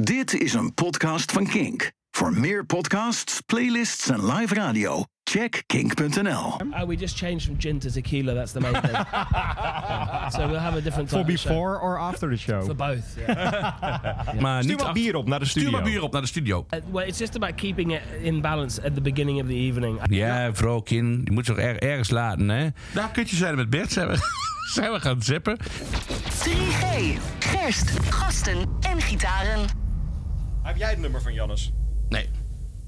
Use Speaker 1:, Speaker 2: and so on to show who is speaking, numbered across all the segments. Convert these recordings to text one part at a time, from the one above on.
Speaker 1: Dit is een podcast van Kink. Voor meer podcasts, playlists en live radio, check kink.nl.
Speaker 2: Oh, we just changed from gin to tequila. That's the main thing. Yeah. So we'll have a different
Speaker 3: For
Speaker 2: type of show.
Speaker 3: before or after the show?
Speaker 2: For both. yeah.
Speaker 3: Stuur
Speaker 4: Maar niet
Speaker 3: maar
Speaker 4: achter-
Speaker 3: bier op naar de studio.
Speaker 4: Stuur maar bier op naar de studio.
Speaker 2: Uh, well, it's just about keeping it in balance at the beginning of the evening.
Speaker 5: Ja, vrouw, kind. Je moet ze toch er- ergens laten, hè?
Speaker 4: Nou, kutje zijn met Bert. Zijn we, zijn we gaan zappen.
Speaker 6: 3G, gerst, gasten en gitaren.
Speaker 3: Heb jij het nummer van Jannes?
Speaker 4: Nee.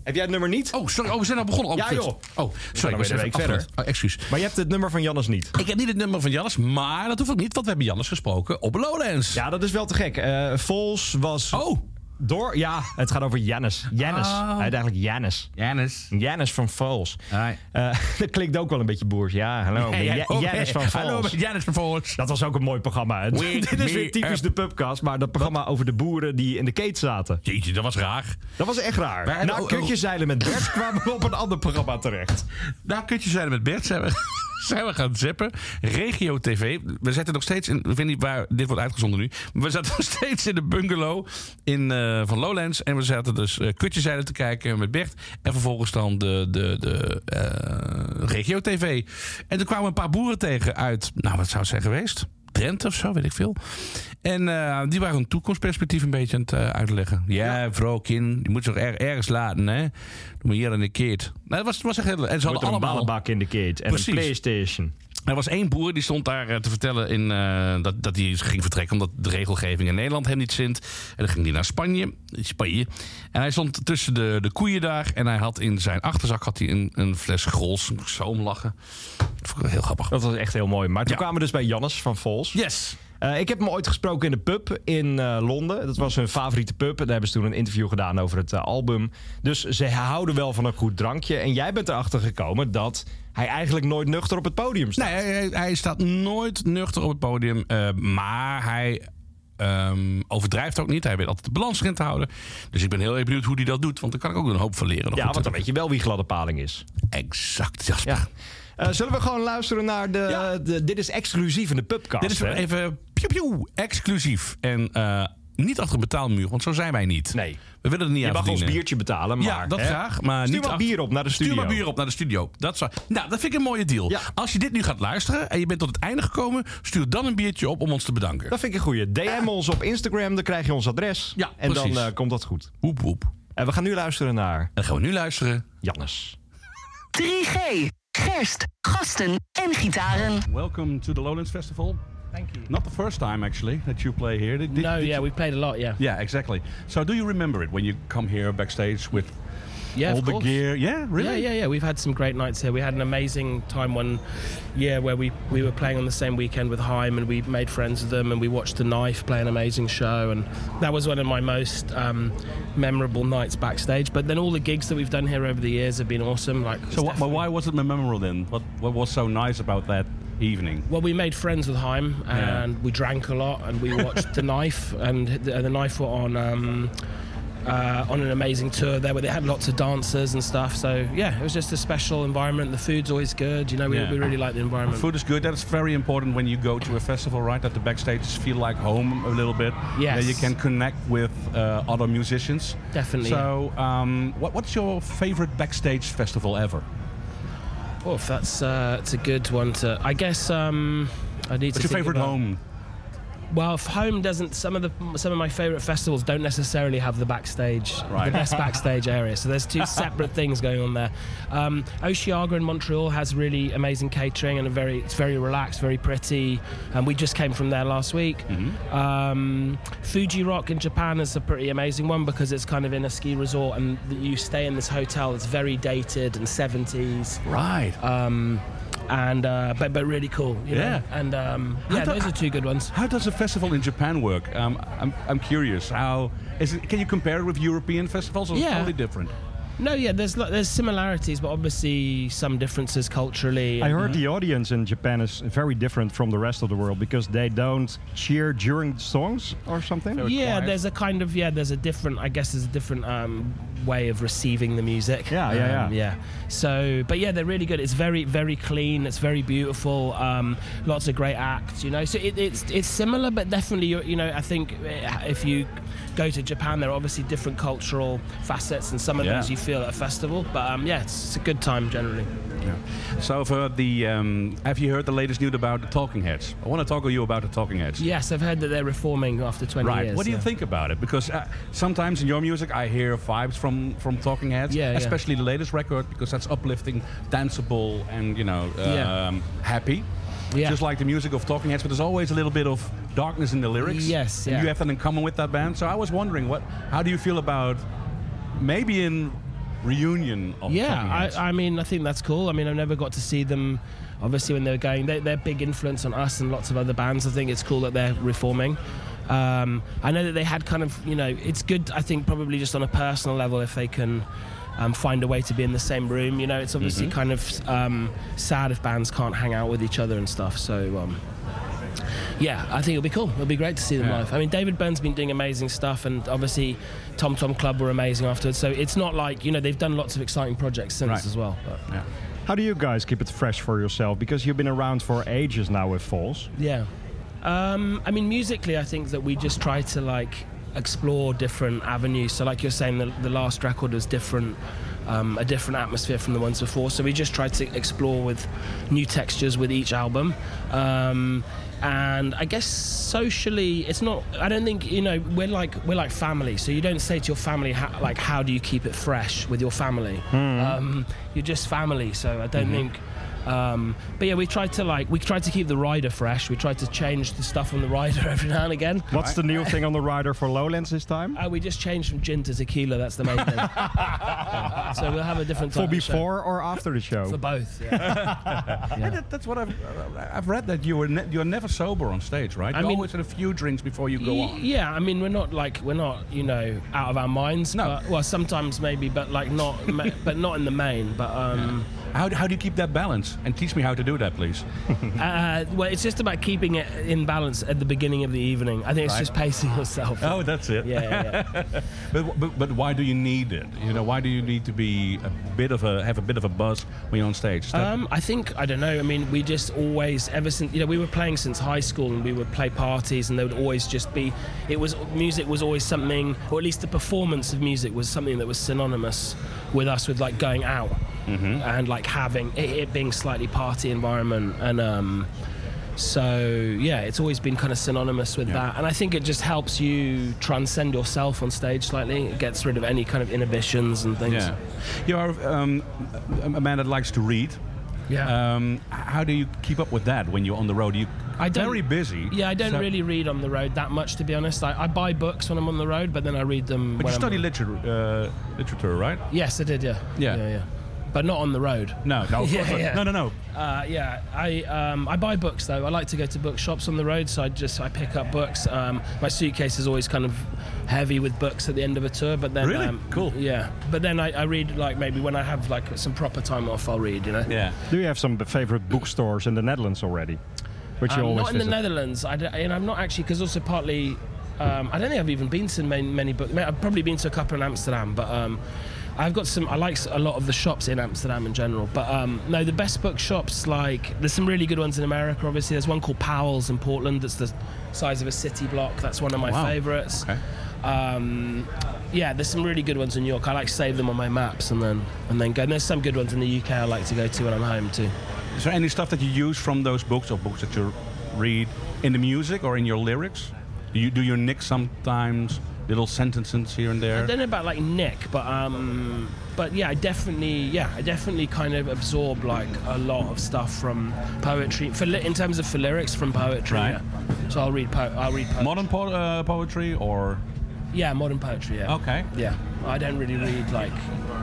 Speaker 3: Heb jij het nummer niet?
Speaker 4: Oh, sorry. Oh, we zijn al begonnen. Oh,
Speaker 3: Ja,
Speaker 4: kut.
Speaker 3: joh.
Speaker 4: Oh, sorry. Ik
Speaker 3: weer
Speaker 4: was
Speaker 3: een
Speaker 4: even
Speaker 3: week verder.
Speaker 4: afgeleid. Oh, excuus.
Speaker 3: Maar je hebt het nummer van Jannes niet.
Speaker 4: Ik heb niet het nummer van Jannes, maar dat hoeft ook niet, want we hebben Jannes gesproken op Lowlands.
Speaker 3: Ja, dat is wel te gek. Eh Vols was
Speaker 4: Oh,
Speaker 3: door... Ja, het gaat over Jannes. Jannes. Hij heet eigenlijk Jannes.
Speaker 4: Jannes.
Speaker 3: Jannes van Vols.
Speaker 4: Hi.
Speaker 3: Eh, dat klinkt ook wel een beetje boers. Ja, hallo. ik ben Ja- Jannes van
Speaker 4: Oh, Hallo,
Speaker 3: Vols.
Speaker 4: met Jannes van Vals.
Speaker 3: Dat was ook een mooi programma. hè.
Speaker 4: Wake
Speaker 3: Dit is
Speaker 4: me
Speaker 3: weer typisch
Speaker 4: up.
Speaker 3: de pubcast, maar dat programma over de boeren die in de keet zaten.
Speaker 4: Jeetje, dat was raar.
Speaker 3: Dat was echt raar.
Speaker 4: Maar-
Speaker 3: Na
Speaker 4: oh, oh.
Speaker 3: kutje zeilen met Bert kwamen we op een ander programma terecht.
Speaker 4: Nou, kutje zijn met Bert. Zijn we, zijn we gaan zappen. Regio TV. We zitten nog steeds in. Ik weet niet waar dit wordt uitgezonden nu. Maar we zaten nog steeds in de bungalow in, eh, van Lowlands. En we zaten dus eh, kutje zeilen te kijken met Bert. En vervolgens dan de, de, de eh, Regio TV. En toen kwamen we een paar boeren tegen uit. Nou, wat zou het zijn geweest? Drenthe of zo, weet ik veel. En eh, die waren hun toekomstperspectief een beetje aan het eh, uitleggen. Ja, vrouw, kind, je moet ze toch er- ergens laten, hè? Doe maar hier en een keert. Nou, dat was, was echt heel... En ze
Speaker 3: Met
Speaker 4: hadden
Speaker 3: een
Speaker 4: allemaal...
Speaker 3: ballenbak in de keet en
Speaker 4: Precies.
Speaker 3: een Playstation.
Speaker 4: Er was één boer die stond daar eh, te vertellen in, eh, dat, dat hij ging vertrekken... omdat de regelgeving in Nederland hem niet zint. En dan ging hij naar Spanje. eh, Spanje. En hij stond tussen de, de koeien daar... en hij had in zijn achterzak had hij een, een fles Grols. Ik moest zo om lachen. Dat vond ik heel grappig.
Speaker 3: Dat was echt heel mooi. Maar toen
Speaker 4: Ja.
Speaker 3: kwamen we dus bij Jannes van Vols.
Speaker 4: Yes.
Speaker 3: Eh, ik heb hem ooit gesproken in de pub in eh, Londen. Dat was hun favoriete pub. Daar hebben ze toen een interview gedaan over het eh, album. Dus ze houden wel van een goed drankje. En jij bent erachter gekomen dat hij eigenlijk nooit nuchter op het podium staat.
Speaker 4: Nee, hij, hij- hij staat nooit nuchter op het podium. eh, maar hij ehm, overdrijft ook niet. Hij weet altijd de balans erin te houden. Dus ik ben heel erg benieuwd hoe hij dat doet. Want daar kan ik ook een hoop van leren.
Speaker 3: ja,
Speaker 4: nog
Speaker 3: want dan
Speaker 4: natuurlijk.
Speaker 3: weet je wel wie gladde paling is.
Speaker 4: Exact, Jasper.
Speaker 3: Ja. Eh, zullen we gewoon luisteren naar de,
Speaker 4: Ja.
Speaker 3: de- Dit is exclusief in de pubcast.
Speaker 4: Dit is
Speaker 3: hè?
Speaker 4: even piu, piu, exclusief. En eh, niet achter een betaalmuur, want zo zijn wij niet.
Speaker 3: Nee.
Speaker 4: We willen er niet
Speaker 3: Je
Speaker 4: aan
Speaker 3: mag ons
Speaker 4: verdienen.
Speaker 3: biertje betalen, maar...
Speaker 4: ja, dat
Speaker 3: hè,
Speaker 4: graag. Maar
Speaker 3: Stuur
Speaker 4: niet
Speaker 3: maar
Speaker 4: achter-
Speaker 3: bier op naar de studio.
Speaker 4: Stuur maar bier op naar de studio. Dat zou... Nou, dat vind ik een mooie deal.
Speaker 3: Ja.
Speaker 4: Als je dit nu gaat luisteren en je bent tot het einde gekomen... stuur dan een biertje op om ons te bedanken.
Speaker 3: Dat vind ik een goeie. DM ons op Instagram, dan krijg je ons adres.
Speaker 4: Ja,
Speaker 3: en dan
Speaker 4: precies.
Speaker 3: eh, komt dat goed.
Speaker 4: Hoep, hoep. En
Speaker 3: En we gaan nu luisteren naar
Speaker 4: dan gaan we nu luisteren
Speaker 3: Jannes.
Speaker 6: 3G, gerst, gasten en gitaren.
Speaker 7: Welcome to the Lowlands Festival.
Speaker 2: Thank you.
Speaker 7: Not the first time, actually, that you play here. Did, did-
Speaker 2: no,
Speaker 7: did
Speaker 2: yeah,
Speaker 7: you-
Speaker 2: we played a lot, yeah.
Speaker 7: yeah, exactly. So, do you remember it when you come here backstage with
Speaker 2: Yeah,
Speaker 7: all
Speaker 2: of
Speaker 7: the
Speaker 2: course.
Speaker 7: gear? Yeah, really.
Speaker 2: Yeah, yeah, yeah. We've had some great nights here. We had an amazing time one year where we, we were playing on the same weekend with Heim and we made friends with them and we watched The Knife play an amazing show. And that was one of my most um, memorable nights backstage. But then all the gigs that we've done here over the years have been awesome. Like
Speaker 7: So, what, but why was it memorable then? What What was so nice about that evening?
Speaker 2: Well, we made friends with Heim,
Speaker 7: Yeah.
Speaker 2: and we drank a lot, and we watched The Knife, and the, the Knife were on um, uh, on an amazing tour there, where they had lots of dancers and stuff. So yeah, it was just a special environment. The food's always good, you know. We,
Speaker 7: Yeah.
Speaker 2: we really like the environment.
Speaker 7: Food is good. That's very important when you go to a festival, right? That the backstages feel like home a little bit.
Speaker 2: Yes.
Speaker 7: That you can connect with uh, other musicians.
Speaker 2: Definitely,
Speaker 7: So, um, what, what's your favorite backstage festival ever?
Speaker 2: Oh, that's uh, it's a good one to. I guess um, I
Speaker 7: What's
Speaker 2: need to.
Speaker 7: your
Speaker 2: think
Speaker 7: favorite
Speaker 2: about-
Speaker 7: home?
Speaker 2: Well, if home doesn't. Some of the some of my favourite festivals don't necessarily have the backstage, the
Speaker 7: Right.
Speaker 2: best backstage area. So there's two separate things going on there. Um, Oceaga in Montreal has really amazing catering and a very it's very relaxed, very pretty. And we just came from there last week.
Speaker 7: Mm-hmm.
Speaker 2: Um, Fuji Rock in Japan is a pretty amazing one because it's kind of in a ski resort and you stay in this hotel that's very dated and 70s
Speaker 7: Right.
Speaker 2: um, and uh, but but really cool. You
Speaker 7: Yeah.
Speaker 2: Know? And um, yeah,
Speaker 7: do-
Speaker 2: those are two good ones.
Speaker 7: How does a festival in Japan work? Um, I'm, I'm curious. How is it? Can you compare it with European festivals? Or is it
Speaker 2: Yeah.
Speaker 7: totally different.
Speaker 2: No, yeah, there's lo- there's similarities, but obviously some differences culturally.
Speaker 8: I heard the audience in Japan is very different from the rest of the world because they don't cheer during songs or something.
Speaker 2: yeah, there's a kind of yeah, there's a different. I guess there's a different um, way of receiving the music.
Speaker 8: Yeah, yeah, yeah.
Speaker 2: Um, yeah. So, but yeah, they're really good. It's very, very clean. It's very beautiful. Um, lots of great acts, you know. So it, it's it's similar, but definitely, you you know, I think eh, if you go to Japan, there are obviously different cultural facets, and some of
Speaker 4: Yeah.
Speaker 2: those you feel at a festival. But um, yeah, it's, it's a good time generally.
Speaker 4: So I've heard the. Um, have you heard the latest news about the Talking Heads? I want to talk to you about the Talking Heads.
Speaker 2: Yes, I've heard that they're reforming after 20
Speaker 4: Right.
Speaker 2: years.
Speaker 4: what do you
Speaker 2: yeah.
Speaker 4: think about it? Because uh, sometimes in your music, I hear vibes from from Talking Heads,
Speaker 2: Yeah, yeah.
Speaker 4: especially the latest record, because that's uplifting, danceable, and you know, um,
Speaker 2: Yeah.
Speaker 4: happy.
Speaker 2: Yeah.
Speaker 4: Just like the music of Talking Heads, but there's always a little bit of darkness in the lyrics.
Speaker 2: Yes,
Speaker 4: And
Speaker 2: yeah.
Speaker 4: you have that in common with that band. So I was wondering, what? How do you feel about maybe in reunion of Talking
Speaker 2: Yeah,
Speaker 4: Heads?
Speaker 2: I, I mean, I think that's cool. I mean, I've never got to see them. Obviously, when they were going, they, they're big influence on us and lots of other bands. I think it's cool that they're reforming. Um, I know that they had kind of, you know, it's good. I think probably just on a personal level if they can. Um, find a way to be in the same room. You know, it's obviously kind of um, sad if bands can't hang out with each other and stuff. So, um, yeah, I think it'll be cool. It'll be great to see them live. I mean, David Byrne's been doing amazing stuff, and obviously, Tom Tom Club were amazing afterwards. So it's not like you know they've done lots of exciting projects since
Speaker 4: Right.
Speaker 2: as well. But
Speaker 8: How do you guys keep it fresh for yourself? Because you've been around for ages now with Falls.
Speaker 2: yeah, um, I mean, musically, I think that we just try to like explore different avenues. So, like you're saying, the, the last record was different. Um, a different atmosphere from the ones before, so we just tried to explore with new textures with each album. Um, and I guess socially, it's not. I don't think you know we're like we're like family. So you don't say to your family how, like how do you keep it fresh with your family?
Speaker 4: Hmm.
Speaker 2: Um, you're just family. So I don't
Speaker 4: Mm-hmm.
Speaker 2: think. Um, but yeah, we tried to like we tried to keep the rider fresh. We tried to change the stuff on the rider every now and again.
Speaker 8: What's the new thing on the rider for Lowlands this time?
Speaker 2: Uh, we just changed from gin to tequila. That's the main thing. Yeah. so we'll have a different
Speaker 8: For
Speaker 2: type of show.
Speaker 8: before or after the show?
Speaker 2: for both. Yeah.
Speaker 4: Yeah, that- that's what I've I've read that you were ne- you're never sober on stage, right?
Speaker 2: I
Speaker 4: you
Speaker 2: mean-
Speaker 4: always had a few drinks before you go
Speaker 2: Y-
Speaker 4: on.
Speaker 2: Yeah, I mean, we're not like we're not you know out of our minds.
Speaker 4: No.
Speaker 2: But, well, sometimes maybe, but like not, ma- but not in the main. But um,
Speaker 4: How, do- how do you keep that balance? And teach me how to do that, please.
Speaker 2: uh, well, it's just about keeping it in balance at the beginning of the evening. I think it's just pacing yourself.
Speaker 4: Oh, that's it.
Speaker 2: Yeah, yeah, yeah.
Speaker 4: But, but but why do you need it? You know, why do you need to be a bit of a have a bit of a buzz when you're on stage? Is that-
Speaker 2: Um, I think I don't know. I mean, we just always ever since you know we were playing since high school, and we would play parties, and there would always just be it was music was always something, or at least the performance of music was something that was synonymous with us with like going out and like having it, it being slightly party environment and. Um, so yeah, it's always been kind of synonymous with that, and I think it just helps you transcend yourself on stage slightly. It gets rid of any kind of inhibitions and things.
Speaker 4: yeah, you are um, a a man that likes to read.
Speaker 2: Yeah.
Speaker 4: Um, how do you keep up with that when you're on the road? You
Speaker 2: I don't-
Speaker 4: very busy.
Speaker 2: Yeah, I don't
Speaker 4: so-
Speaker 2: really read on the road that much, to be honest. I, I buy books when I'm on the road, but then I read them.
Speaker 4: But
Speaker 2: when
Speaker 4: you
Speaker 2: I'm-
Speaker 4: study literature, uh, literature, right?
Speaker 2: Yes, I did. Yeah.
Speaker 4: Yeah.
Speaker 2: Yeah. yeah. But not on the road.
Speaker 4: No, no, of
Speaker 2: Yeah,
Speaker 4: course not.
Speaker 2: yeah.
Speaker 4: no, no, no.
Speaker 2: Uh, yeah, I um, I buy books though. I like to go to bookshops on the road, so I just I pick up books. Um, my suitcase is always kind of heavy with books at the end of a tour, but then
Speaker 4: Really?
Speaker 2: um,
Speaker 4: Cool.
Speaker 2: Yeah, but then I, I read like maybe when I have like some proper time off, I'll read. You know.
Speaker 4: Yeah.
Speaker 8: Do you have some favorite bookstores in the Netherlands already? Which you
Speaker 2: Um,
Speaker 8: always
Speaker 2: not in the
Speaker 8: visit?
Speaker 2: Netherlands. I don't- and I'm not actually because also partly. Um, I don't think I've even been to many, many book. I've probably been to a couple in Amsterdam, but um, I've got some. I like a lot of the shops in Amsterdam in general. But um, no, the best bookshops like there's some really good ones in America. Obviously, there's one called Powell's in Portland. That's the size of a city block. That's one of my favorites.
Speaker 4: Okay.
Speaker 2: Um, yeah, there's some really good ones in New York. I like save them on my maps and then and then go. And there's some good ones in the UK. I like to go to when I'm home too.
Speaker 4: Is there any stuff that you use from those books or books that you read in the music or in your lyrics? Do you do you nick sometimes little sentences here and
Speaker 2: I
Speaker 4: there?
Speaker 2: don't know about like Nick, but um, but yeah, I definitely yeah, I definitely kind of absorb like a lot of stuff from poetry for li- in terms of for lyrics from poetry.
Speaker 4: Right.
Speaker 2: Yeah. So I'll read po- I'll read po-
Speaker 4: Modern po- uh, poetry or
Speaker 2: yeah modern poetry. Yeah.
Speaker 4: okay?
Speaker 2: Yeah, I don't really read like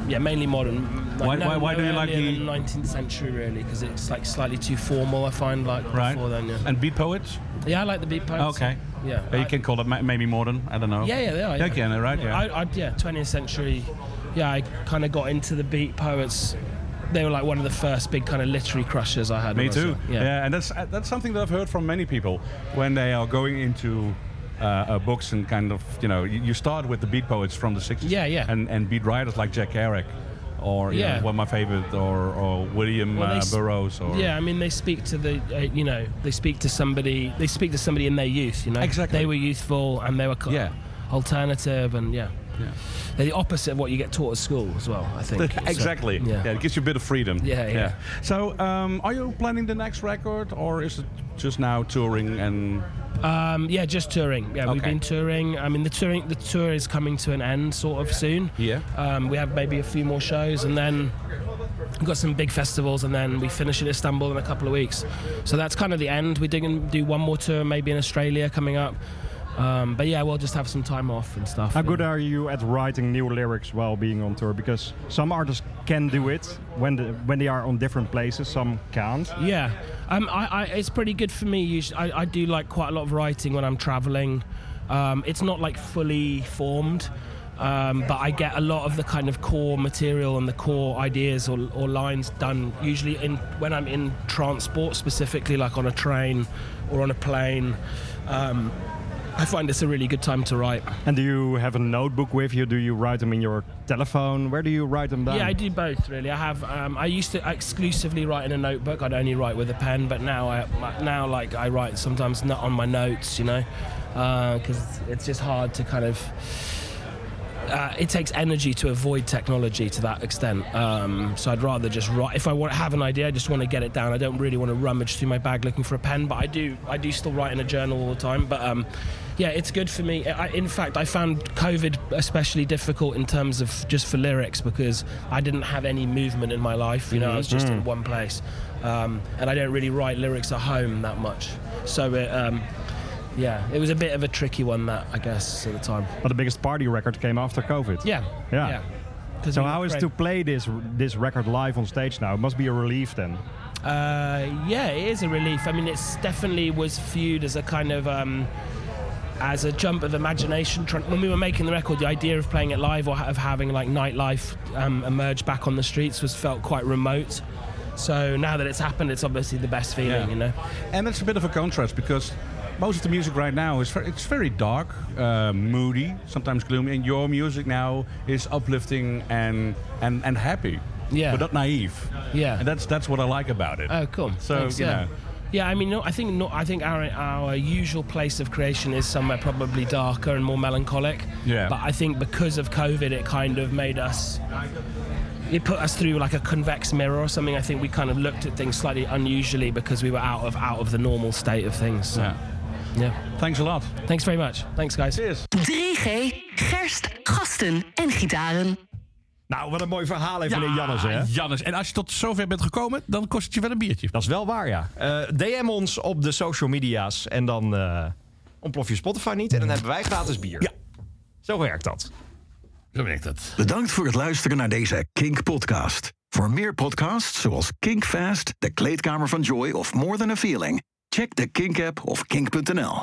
Speaker 2: yeah mainly modern. Like,
Speaker 4: Why-
Speaker 2: no-
Speaker 4: why- why
Speaker 2: no
Speaker 4: do you like
Speaker 2: earlier
Speaker 4: the-
Speaker 2: than 19th century really? Because it's like slightly too formal. I find like
Speaker 4: Right.
Speaker 2: before then. Yeah.
Speaker 4: And beat poets?
Speaker 2: yeah, I like the beat poets.
Speaker 4: Okay.
Speaker 2: Yeah.
Speaker 4: Uh, you
Speaker 2: I-
Speaker 4: can call it ma- maybe modern. I don't know.
Speaker 2: Yeah, yeah, they are.
Speaker 4: Yeah, you can, right? Yeah.
Speaker 2: I, I, yeah, 20th century. Yeah, I kind of got into the beat poets. They were like one of the first big kind of literary crushes I had.
Speaker 4: Me
Speaker 2: when I was
Speaker 4: too.
Speaker 2: young.
Speaker 4: Yeah. and that's uh, that's something that I've heard from many people when they are going into uh, uh, books and kind of you know you, you start with the beat poets from the 60s
Speaker 2: Yeah, yeah.
Speaker 4: and and beat writers like Jack Kerouac or you
Speaker 2: Yeah.
Speaker 4: know, one of my favorite or, or William
Speaker 2: Well, they
Speaker 4: uh,
Speaker 2: s-
Speaker 4: Burroughs or
Speaker 2: Yeah, I mean, they speak to the, uh, you know, they speak to somebody, they speak to somebody in their youth, you know.
Speaker 4: Exactly.
Speaker 2: They were youthful and they were co-
Speaker 4: Yeah.
Speaker 2: alternative and yeah.
Speaker 4: Yeah.
Speaker 2: They're the opposite of what you get taught at school as well, I think. So,
Speaker 4: exactly. yeah.
Speaker 2: yeah.
Speaker 4: it gives you a bit of freedom.
Speaker 2: Yeah, yeah.
Speaker 4: So, um, are you planning the next record, or is it just now touring and
Speaker 2: Um, yeah, just touring. Yeah, we've
Speaker 4: Okay.
Speaker 2: been touring. I mean, the touring, the tour is coming to an end sort of soon.
Speaker 4: Yeah.
Speaker 2: Um, we have maybe a few more shows, and then we've got some big festivals, and then we finish in Istanbul in a couple of weeks. So that's kind of the end. We're going to do one more tour, maybe in Australia coming up. Um, but yeah, we'll just have some time off and stuff.
Speaker 8: How good are you at writing new lyrics while being on tour? Because some artists can do it when the, when they are on different places. Some can't.
Speaker 2: Yeah, um, I, I, it's pretty good for me. Usually, I, I do like quite a lot of writing when I'm traveling. Um, it's not like fully formed, um, but I get a lot of the kind of core material and the core ideas or, or lines done usually in when I'm in transport, specifically like on a train or on a plane. Um, I find it's a really good time to write.
Speaker 8: And do you have a notebook with you? Do you write them in your telephone? Where do you write them down?
Speaker 2: Yeah,
Speaker 3: um,
Speaker 2: I do both really. I have. Um, I used to exclusively write in a notebook. I'd only write with a pen, but now I my- now like I write sometimes not on my notes, you know, because it's just hard to kind of. Uh, it takes energy to avoid technology to that extent. Um, so I'd rather just write. If I want have an idea, I just want to get it down. I don't really want to rummage through my bag looking for a pen, but I do. I do still write in a journal all the time. But um, yeah, it's good for me. I, in fact, I found COVID especially difficult in terms of just for lyrics because I didn't have any movement in my life. You know, I was just in one place, um, and I don't really write lyrics at home that much. So it, um, yeah, it was a bit of a tricky one that I guess at the time.
Speaker 8: But the biggest party record came after COVID.
Speaker 2: Yeah.
Speaker 8: Yeah.
Speaker 2: Because
Speaker 8: So
Speaker 2: we
Speaker 8: how
Speaker 2: were
Speaker 8: is
Speaker 2: afraid-
Speaker 8: to play this this record live on stage now? It must be a relief then.
Speaker 2: Uh, yeah, it is a relief. I mean, it's definitely was viewed as a kind of um, as a jump of imagination. Tr- When we were making the record, the idea of playing it live or ha- of having like nightlife um, emerge back on the streets was felt quite remote. So now that it's happened, it's obviously the best feeling,
Speaker 4: Yeah.
Speaker 2: you know.
Speaker 4: And that's a bit of a contrast because most of the music right now is ver- it's very dark, uh, moody, sometimes gloomy, and your music now is uplifting and and, and happy.
Speaker 2: Yeah.
Speaker 4: But not naive.
Speaker 2: Yeah.
Speaker 4: And that's that's what I like about it.
Speaker 2: Oh, cool.
Speaker 4: So,
Speaker 2: Thanks,
Speaker 4: you
Speaker 2: yeah.
Speaker 4: know.
Speaker 2: Yeah, I mean, no, I think no, I think our our usual place of creation is somewhere probably darker and more melancholic.
Speaker 4: Yeah.
Speaker 2: But I think because of COVID, it kind of made us. It put us through like a convex mirror or something. I think we kind of looked at things slightly unusually because we were out of out of the normal state of things. So,
Speaker 4: Yeah.
Speaker 2: yeah.
Speaker 4: Thanks a lot.
Speaker 2: Thanks very much. Thanks, guys.
Speaker 6: 3G, gerst, gasten en gitaren.
Speaker 3: Nou, wat een mooi verhaal even in Jannes, hè?
Speaker 9: Jannes. En als je tot zover bent gekomen, dan kost het je wel een biertje.
Speaker 3: Dat is wel waar, ja. Eh, DM ons op de social media's en dan eh, ontplof je Spotify niet. En dan hebben wij gratis bier.
Speaker 9: Ja.
Speaker 3: Zo werkt dat.
Speaker 9: Zo werkt dat.
Speaker 1: Bedankt voor het luisteren naar deze Kink podcast. Voor meer podcasts zoals Kink Fast, De Kleedkamer van Joy of More Than a Feeling, check de Kink app of kink.nl.